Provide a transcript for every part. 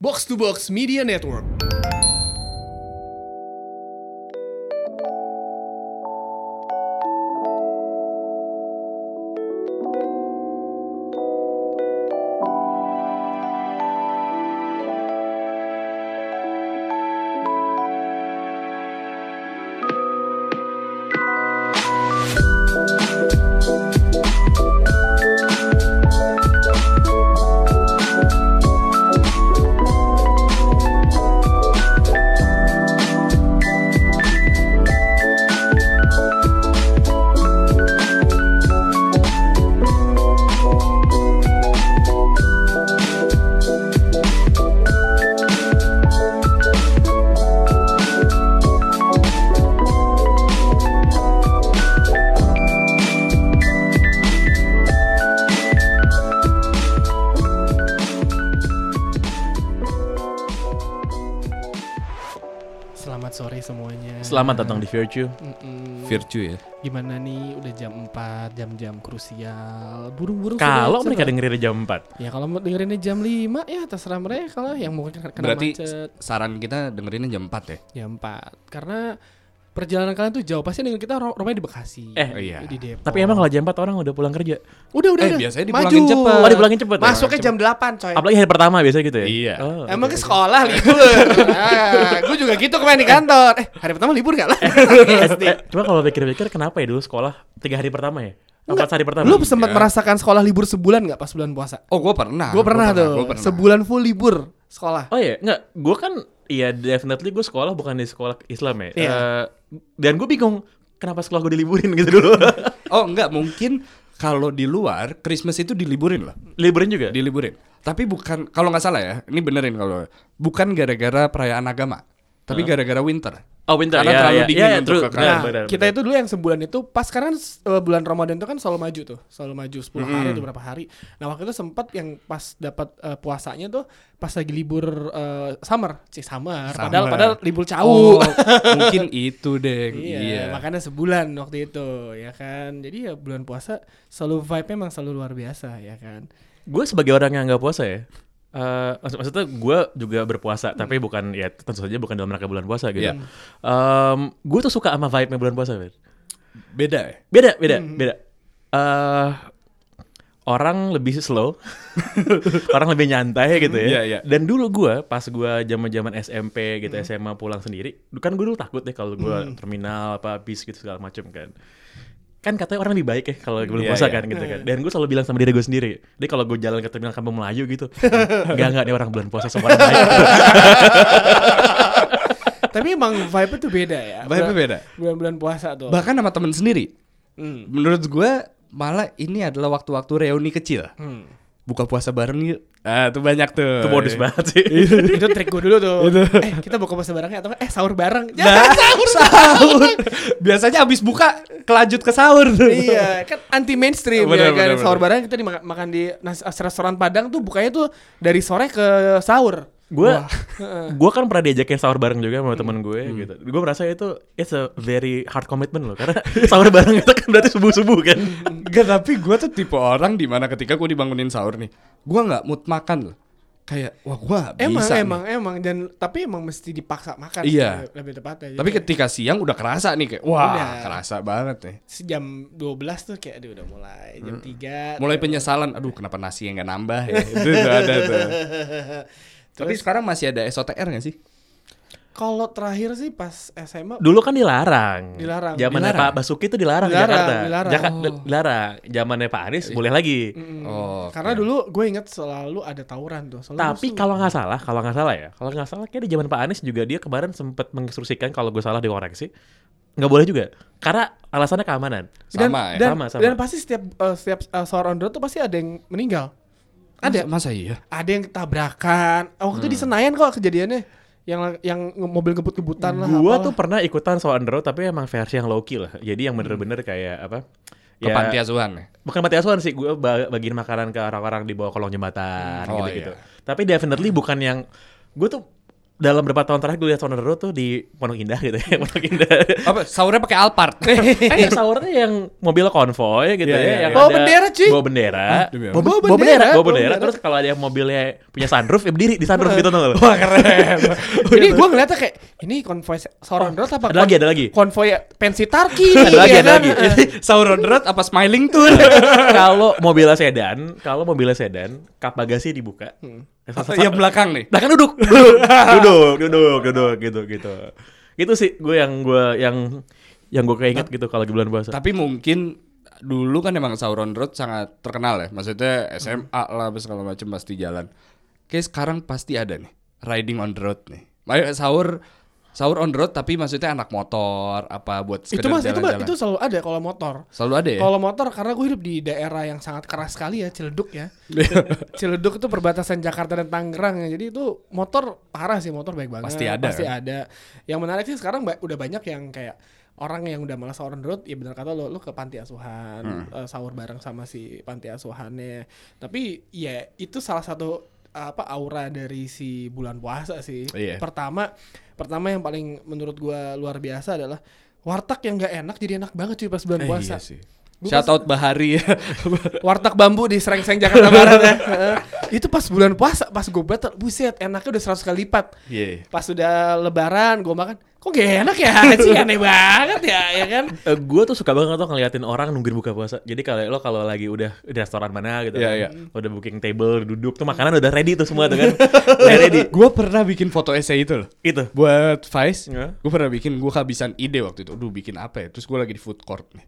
Box to Box Media Network. Selamat sore semuanya. Selamat datang di Virtue. Mm-mm. Virtue ya. Gimana nih? Udah jam 4, jam-jam krusial. Buru-buru. Kalau sudah, mereka sudah. dengerin jam 4. Ya kalau mau dengerinnya jam 5 ya terserah mereka lah yang mau kena kena Berarti macet saran kita dengerinnya jam 4 ya. jam 4. Karena perjalanan kalian tuh jauh pasti dengan kita ro- rumahnya di Bekasi. Eh, oh iya. Di Depok. Tapi emang kalau jam 4 orang udah pulang kerja. udah udah Eh, udah. biasanya Maju. dipulangin cepet. Oh, dipulangin cepet. Masuknya jam 8, coy. Eh. Apalagi hari pertama biasanya gitu ya. Iya. Oh, Emang ke oke, oke. sekolah libur. ah, gue juga gitu kemarin di kantor. Eh, hari pertama libur gak lah? SD. Eh, Cuma kalau pikir-pikir kenapa ya dulu sekolah tiga hari pertama ya? Empat Enggak. hari pertama. Iya. Lu sempat merasakan sekolah libur sebulan gak pas bulan puasa? Oh, gua pernah. gue pernah tuh. gua pernah. Sebulan full libur sekolah. Oh iya, enggak. Gue kan, iya definitely gue sekolah bukan di sekolah Islam ya. Iya. Eh, dan gue bingung kenapa sekolah gue diliburin gitu dulu. Oh, enggak mungkin kalau di luar Christmas itu diliburin lah. Liburin juga? Diliburin. Tapi bukan kalau nggak salah ya, ini benerin kalau bukan gara-gara perayaan agama, tapi gara-gara winter. oh winter. Karena ya, terlalu ya, ya, dingin ya, untuk true. ke Benar, Nah, benar, kita benar. itu dulu yang sebulan itu pas karena eh, bulan Ramadan itu kan selalu maju tuh, selalu maju 10 hari atau berapa hari. Nah, waktu itu sempat yang pas dapat eh, puasanya tuh pas lagi libur eh, summer, sih summer. Padahal Summer. padahal libur cau. Oh, mungkin itu, Deng. Iya, Iya. makanya sebulan waktu itu, ya kan. Jadi ya bulan puasa selalu vibe-nya emang selalu luar biasa, ya kan. gue sebagai orang yang nggak puasa ya eh, maksud maksudnya gue juga berpuasa tapi bukan ya tentu saja bukan dalam rangka bulan puasa gitu Iya. gue tuh suka sama vibe bulan puasa Fer. Beda ya? beda beda beda Eh, orang lebih slow orang lebih nyantai gitu ya Iya, iya. Hmm. dan dulu gue pas gue zaman zaman SMP gitu SMA pulang sendiri kan gue dulu takut deh kalau gue terminal apa bis gitu segala macem kan kan katanya orang lebih baik ya kalau belum Iya, puasa iya. kan gitu kan dan gue selalu bilang sama diri gue sendiri deh kalau gue jalan ke terminal kampung Melayu gitu nggak nggak deh orang bulan puasa sama orang baik Tapi emang vibe-nya tuh beda ya. Vibe-nya Bulan- beda. Bulan-bulan puasa tuh. Bahkan sama temen sendiri. Hmm. Menurut gua malah ini adalah waktu-waktu reuni kecil. Hmm. Buka puasa bareng yuk. Ah, tuh banyak tuh. itu modus banget sih Iya, itu trik gue dulu tuh. Eh, kita buka puasa barengnya atau eh sahur bareng. Nah. Jangan sahur. sahur. Biasanya abis buka kelanjut ke sahur. iya, kan anti mainstream ya Benar, kan. benar, sahur benar. bareng kita dimakan makan di nasi- restoran Padang tuh bukanya tuh dari sore ke sahur. gue gue kan pernah diajakin sahur bareng juga sama temen gue Hmm. gitu gue merasa itu it's a very hard commitment loh karena sahur bareng itu kan berarti subuh subuh kan Enggak, tapi gue tuh tipe orang dimana ketika gue dibangunin sahur nih, gue nggak mood makan loh. Kayak wah gue Emang bisa. nih. emang emang dan tapi emang mesti dipaksa makan Iya. sih, lebih tepatnya. Tapi Jadi ketika siang udah kerasa nih kayak wah Udah. kerasa banget nih. jam 12 tuh kayak aduh udah mulai jam 3. Hmm. Mulai penyesalan, aduh kenapa nasi yang nggak nambah ya. itu tuh ada tuh. Tapi sekarang masih ada SOTR nggak sih? Kalau terakhir sih pas SMA dulu kan dilarang Dilarang. zamannya Pak Dilarang. Basuki itu dilarang, Dilarang, di Jakarta dilarang. Iya. Jaka- Oh. di- dilarang zamannya Pak Anies boleh lagi Oh, Hmm, karena oke. dulu gue inget selalu ada tawuran tuh. Selalu tapi kalau nggak salah kalau nggak salah ya kalau nggak salah kayak di zaman Pak Anies juga dia kemarin sempat menginstruksikan kalau gue salah dikoreksi nggak boleh juga karena alasannya keamanan dan, sama ya. dan, Sama, sama. dan pasti setiap eh, setiap eh, sahur on the road tuh pasti ada yang meninggal. Ada masa iya? ada yang tabrakan. Waktu Hmm. itu di Senayan kok kejadiannya yang yang nge- mobil ngebut-ngebutan lah. Gua apalah. tuh pernah ikutan soal on the road tapi emang versi yang low key lah. Jadi Hmm. yang bener-bener kayak apa? Ke panti asuhan ya? Bukan panti asuhan sih, gue bagiin makanan ke orang-orang di bawah kolong jembatan Hmm. Oh, gitu-gitu. iya. Tapi definitely bukan yang gue tuh dalam beberapa tahun terakhir gue lihat Sonoro tuh di Pondok Indah gitu ya, Pondok Indah. Apa sahurnya pakai Alphard? kan yang sahurnya yang mobil konvoy gitu Eh, Iya, ya, iya, yang iya. Bawa bendera, cuy. Bawa bendera. demi apa? Bawa, Bawa bawa bendera, bendera, bawa bawa bendera. bendera. Terus kalau ada yang mobilnya punya sunroof, ya berdiri di sunroof gitu tuh. Wah keren. Iya, ini gue ngeliatnya kayak ini konvoy seorang drone apa Ada lagi, ada lagi. konvoy pensi tarki Ada lagi, ya ada kan? lagi. Iya. Eh, Sahur on the road apa smiling tour? kalau mobilnya sedan, kalau mobilnya sedan, kap bagasi dibuka. Atau Iya, yang belakang nih. Nah kan duduk, duduk, duduk, duduk, duduk, gitu, gitu. Itu sih gue yang gue yang yang gue keinget gitu kalau di bulan puasa. Tapi mungkin dulu kan emang sahur on the road sangat terkenal ya. Maksudnya SMA lah apa segala macam pasti jalan. Kayak sekarang pasti ada nih riding on the road nih. Ayo sahur sahur on the road tapi maksudnya anak motor apa buat itu sekedar mas itu mas jalan-jalan. itu selalu ada kalau motor selalu ada ya. kalau motor karena gue hidup di daerah yang sangat keras sekali ya Ciledug ya Iya. Ciledug itu perbatasan Jakarta dan Tangerang ya. Jadi itu motor parah sih motor baik banget. Pasti ada, Pasti kan? ada. Yang menarik sih sekarang ba- udah banyak yang kayak orang yang udah malas sahur on the road ya benar kata lo lo ke panti asuhan Hmm. eh, sahur bareng sama si panti asuhannya. Tapi ya itu salah satu apa aura dari si bulan puasa sih. Iya. Pertama pertama yang paling menurut gua luar biasa adalah warteg yang nggak enak jadi enak banget cuy pas bulan Eh, puasa. iya sih. Shout out Bahari ya. Warteg bambu di Sereng-Sereng Jakarta Barat ya. Heeh. itu pas bulan puasa, pas gue batal, buset enaknya udah 100 kali lipat. Iya. Pas udah lebaran gue makan, kok gak enak ya sih aneh banget ya, ya kan? Eh, gue tuh suka banget tuh ngeliatin orang nungguin buka puasa. Jadi kalau lo kalau lagi udah di restoran mana gitu, Iya, kan, iya. lo udah booking table, duduk tuh makanan udah ready tuh semua tuh kan, udah ready. Gue pernah bikin foto essay itu loh. Itu. buat Vice Ya. gue pernah bikin gue kehabisan ide waktu itu aduh bikin apa ya terus gue lagi di food court nih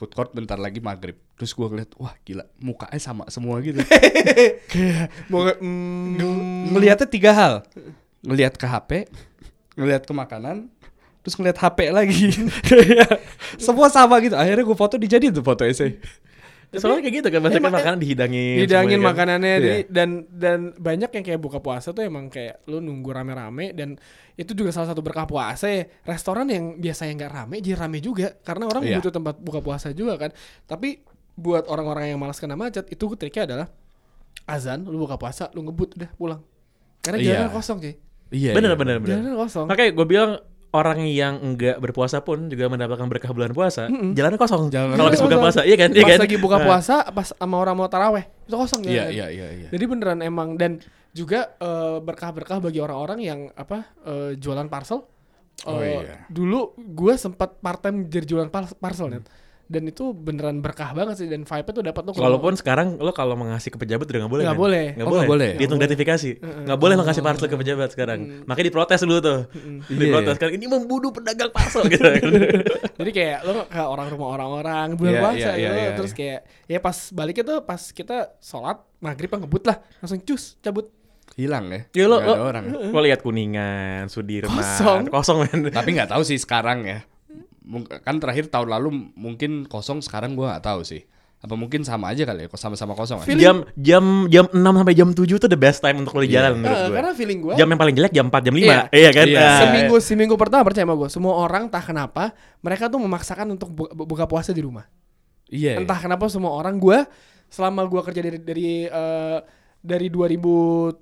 food court bentar lagi maghrib terus gue ngeliat wah gila mukanya sama semua gitu kayak Mau mm, ngeliatnya tiga hal ngeliat ke HP ngeliat ke makanan terus ngeliat HP lagi Kayak semua sama gitu akhirnya gue foto dijadiin tuh foto essay Soalnya kayak gitu kan, maksudnya kan Emang- makanan dihidangin. didangin semuanya kan. makanannya Iya. jadi- dan dan banyak yang kayak buka puasa tuh emang kayak lu nunggu rame-rame dan itu juga salah satu berkah puasa ya restoran yang biasanya nggak rame jadi rame juga karena orang Iya. butuh tempat buka puasa juga kan tapi buat orang-orang yang malas kena macet itu triknya adalah azan lu buka puasa lu ngebut udah pulang karena Iya. jalanan kosong cuy iya Bener, bener, bener. jalanan kosong Makanya gue bilang orang yang enggak berpuasa pun juga mendapatkan berkah bulan puasa, jalannya kosong. Jalannya kalau habis buka kosong. puasa, iya kan? Iya pas kan? lagi buka Nah. puasa pas sama orang mau taraweh itu kosong kan? iya jalanan. iya iya iya Jadi beneran emang dan juga eh, berkah-berkah bagi orang-orang yang apa eh, jualan parcel. Oh Eh, iya. Dulu gue sempat part time jadi jualan par- parcel net. Dan itu beneran berkah banget sih dan vibe-nya tuh dapat tuh kalau- Walaupun sekarang lo kalau mengasih ke pejabat udah nggak boleh. Nggak kan? boleh. Nggak Oh, boleh. nggak boleh. Dihitung gratifikasi. Nggak boleh lo ngasih parcel ke pejabat sekarang. Makanya diprotes dulu tuh. Diprotes kan ini membunuh pedagang parcel gitu. Jadi kayak lo ke orang rumah orang-orang bulan Iya, puasa iya, iya, gitu. iya, terus kayak ya pas baliknya tuh pas kita sholat maghrib kan ngebut lah langsung cus cabut. hilang ya ya lo, Nggak lo, ada orang lo lihat Kuningan, Sudirman, Kosong. kosong men. tapi nggak tahu sih sekarang ya Mung- kan terakhir tahun lalu m- mungkin kosong sekarang gua nggak tahu sih apa mungkin sama aja kali ya kok sama-sama kosong ya? Feeling- Jam jam jam 6 sampai jam 7 tuh the best time untuk lo di jalan menurut Eh, gue. karena feeling gue Jam yang paling jelek jam 4, jam 5. Iya. Iya, kan? Iya. Nah, seminggu seminggu pertama percaya sama gue semua orang entah kenapa mereka tuh memaksakan untuk bu- buka puasa di rumah. iya entah kenapa semua orang gue selama gue kerja dari dari eh, dari 2007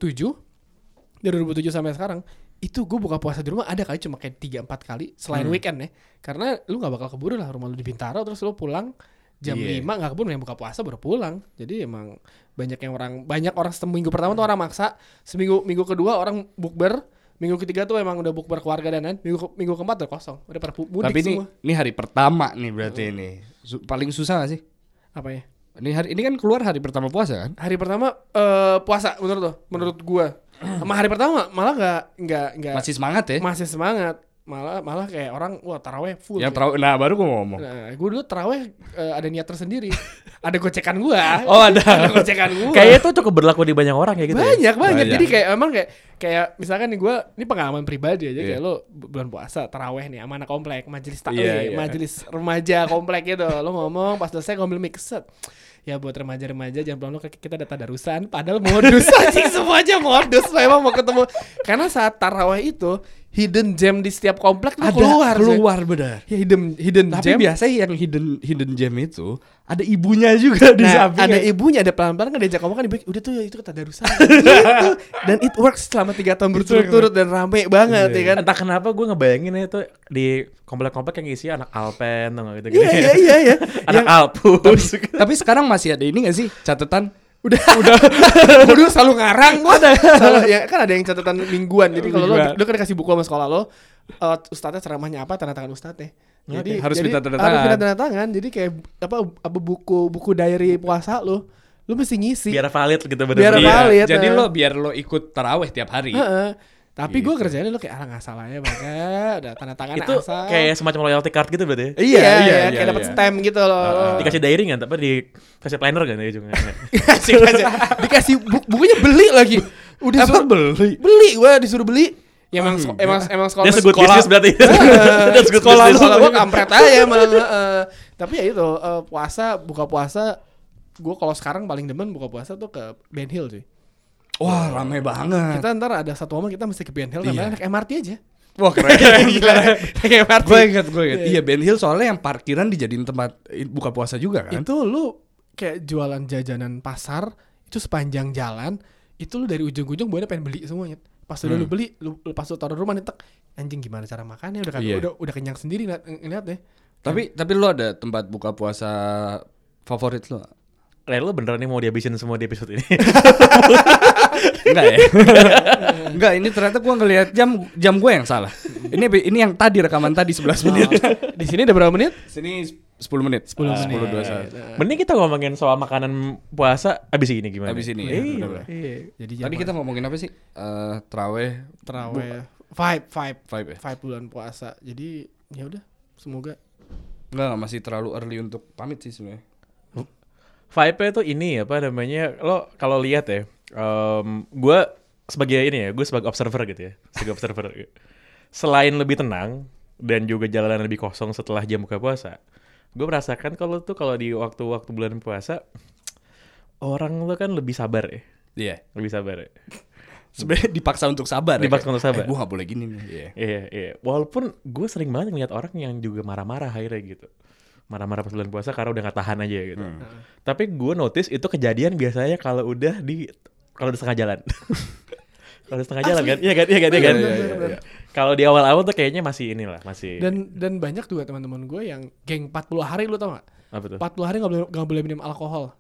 dari 2007 sampai sekarang itu gue buka puasa di rumah ada kali cuma kayak tiga empat kali selain Hmm. weekend ya karena lu nggak bakal keburu lah rumah lu di Bintaro terus lu pulang jam Iya. 5 nggak keburu yang buka puasa baru pulang jadi emang banyak yang orang banyak orang seminggu pertama Hmm. tuh orang maksa seminggu minggu kedua orang bukber minggu ketiga tuh emang udah bukber keluarga dan lain minggu minggu keempat udah kosong udah pada pu- mudik tapi ini semua ini hari pertama nih berarti ini Su- paling susah gak sih apa ya ini hari ini kan keluar hari pertama puasa kan hari pertama eh, puasa menurut lo menurut gua sama hari pertama malah nggak nggak nggak Hmm. masih semangat ya masih semangat malah malah kayak orang wah taraweh full yang nih. terlalu nah baru gua mau ngomong nah, gua dulu taraweh eh, ada niat tersendiri ada gocekan gua oh ada ada gocekan gua Kayaknya itu cukup berlaku di banyak orang ya gitu. ya. Iya. banyak banget Banyak. jadi kayak emang kayak kayak misalkan nih gue ini pengalaman pribadi aja kayak Iya. lo bu- bulan puasa taraweh nih sama anak komplek majelis taklim Iya, iya. majelis remaja komplek gitu lo ngomong pas selesai ngambil mixet ya buat remaja-remaja jangan bilang lo kayak kita data darusan padahal modus anjing semuanya modus memang mau ketemu karena saat taraweh itu hidden gem di setiap komplek tuh Ada keluar. Zek. keluar benar. Ya, hidden hidden Tapi gem. biasanya yang hidden hidden gem itu ada ibunya juga di Nah, samping. ya. ada ibunya, ada pelan-pelan kan diajak ngomong kan dibilang, udah tuh ya, itu tadarusan. gitu. Dan it works selama 3 tahun berturut-turut dan rame Iya, banget ya kan. Iya, Entah kenapa gue ngebayangin itu di komplek-komplek yang isinya anak Alpen atau gitu gitu. Iya iya iya iya. Anak Yang- Alpus. Tapi sekarang masih ada ini gak sih catatan? udah udah Gua dulu selalu ngarang gua Selalu- ya kan ada yang catatan mingguan jadi kalau lo Mingguan. lo kan dikasih buku sama sekolah lo eh, ustadznya ceramahnya apa tanda tangan ustadznya jadi Oke, harus jadi minta tanda harus tangan. minta tanda tangan jadi kayak apa apa buku buku diary puasa lo lo mesti ngisi Biar valid gitu Biar bener-bener. valid. Iya, Jadi nah. Ah, lo biar lo ikut taraweh tiap hari. Heeh. tapi gua kerjanya lo kayak alah ngasal aja banget udah tanda tangan Itu asal. kayak semacam loyalty card gitu berarti. ya? iya, iya, kayak dapat iya. stem gitu loh. Dikasih diary nggak? Tapi dikasih planner nggak? Di ujungnya? dikasih, dikasih, dikasih bu- bukunya beli lagi. Udah Apa suruh beli? beli gue disuruh beli ya emang sko- emang emang sekolah Dia good sekolah- business berarti. Eh, That's good sekolah business. sekolah gue kampret aja emang eh. tapi ya itu eh, puasa buka puasa gue kalau sekarang paling demen buka puasa tuh ke Ben Hill sih Wah ramai banget. kita ntar ada satu momen kita mesti ke Ben Hill karena Iya. naik MRT aja Wah keren. Gila. naik MRT gue inget gue inget. Iya. Iya Ben Hill soalnya yang parkiran dijadiin tempat eh, buka puasa juga kan. itu lu kayak jualan jajanan pasar itu sepanjang jalan itu lu dari ujung-ujung buahnya pengen beli semuanya pas udah lu beli lu, lu pas lu taruh rumah nih tek anjing gimana cara makannya udah kan Iya. udah udah kenyang sendiri ngeliat, ngeliat deh Tapi tapi lo ada tempat buka puasa favorit lo? Ren, lo beneran nih mau dihabisin semua di episode ini? Enggak ya? Enggak, ini ternyata gue ngelihat jam jam gue yang salah. Ini ini yang tadi rekaman tadi 11 menit. di sini ada berapa menit? Sini 10 menit. 10 Ah, menit. 10 21. Mending kita ngomongin soal makanan puasa abis ini gimana? Habis ini ya. Iya. bener-bener. Iya. Jadi Tadi kita ngomongin apa sih? Eh traweh terawih vibe vibe vibe ya? vibe bulan puasa. Jadi ya udah semoga Enggak, enggak, masih terlalu early untuk pamit sih sebenarnya. Vibe-nya tuh ini apa namanya? Lo kalau lihat ya, em, gue sebagai ini ya, gue sebagai observer gitu ya, sebagai observer. Selain lebih tenang dan juga jalanan lebih kosong setelah jam buka puasa, gue merasakan kalau tuh kalau di waktu-waktu bulan puasa orang lo kan lebih sabar ya, Iya. lebih sabar ya. Sebenarnya dipaksa untuk sabar. ya. Dipaksa untuk sabar. gue gak boleh gini nih. Iya. Iya, iya. Walaupun gue sering banget ngeliat orang yang juga marah-marah akhirnya gitu. Marah-marah pas bulan puasa karena udah gak tahan aja gitu. Tapi gue notice itu kejadian biasanya kalau udah di kalau di setengah jalan. kalau di setengah jalan kan? Iya kan? Iya kan? Iya kan? Iya, iya, iya. Kalau di awal-awal tuh kayaknya masih inilah, masih dan dan banyak juga teman-teman gue yang geng 40 hari lu tau gak? apa tuh? 40 hari nggak boleh nggak boleh minum alkohol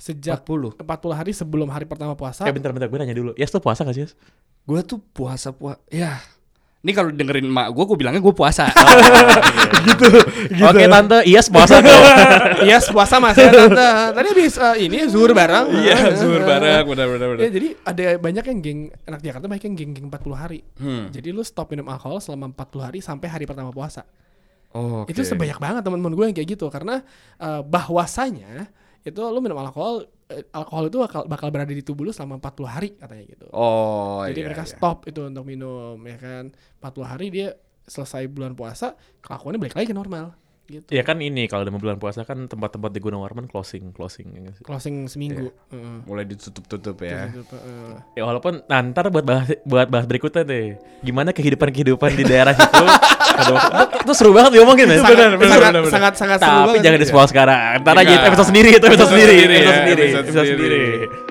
sejak 40. 40 hari sebelum hari pertama puasa. Eh bentar-bentar gue nanya dulu. Yes tuh puasa gak sih? Yes? Gue tuh puasa puasa. Ya. Oh, Ini kalau dengerin mak gue, gue bilangnya gue puasa. gitu. Oke tante, yes puasa kok. Yes puasa mas ya tante. Tadi habis eh, ini zuhur bareng. Iya, zuhur bareng, benar-benar. Ya, jadi ada banyak yang geng anak Jakarta banyak yang geng-geng 40 hari. Hmm. Jadi lu stop minum alkohol selama 40 hari sampai hari pertama puasa. Oh, Itu sebanyak banget teman-teman gue yang kayak gitu karena eh, bahwasanya itu lu minum alkohol eh, alkohol itu bakal, bakal berada di tubuh lu selama 40 hari katanya gitu. Oh, Jadi iya, mereka iya. stop itu untuk minum ya kan. 40 hari dia selesai bulan puasa kelakuannya balik lagi ke normal gitu. ya Iya kan ini kalau udah mau bulan puasa kan tempat-tempat di Gunung Warman closing, closing. ya nggak sih? Closing seminggu. Iya. Heeh. mulai ditutup-tutup ya. Tutup, heeh. Ya walaupun nah, ntar buat bahas buat bahas berikutnya deh. Gimana kehidupan-kehidupan di daerah situ? Pada waktu- itu, itu seru banget diomongin ya. Sangat- Benar, benar, sangat- benar, benar. sangat- sangat seru Tapi banget. gitu ya. Iya. jangan di spoil sekarang. Ntar aja Enggak. episode sendiri itu episode Episode sendiri, sendiri, episode ya, sendiri, episode episode sendiri. sendiri.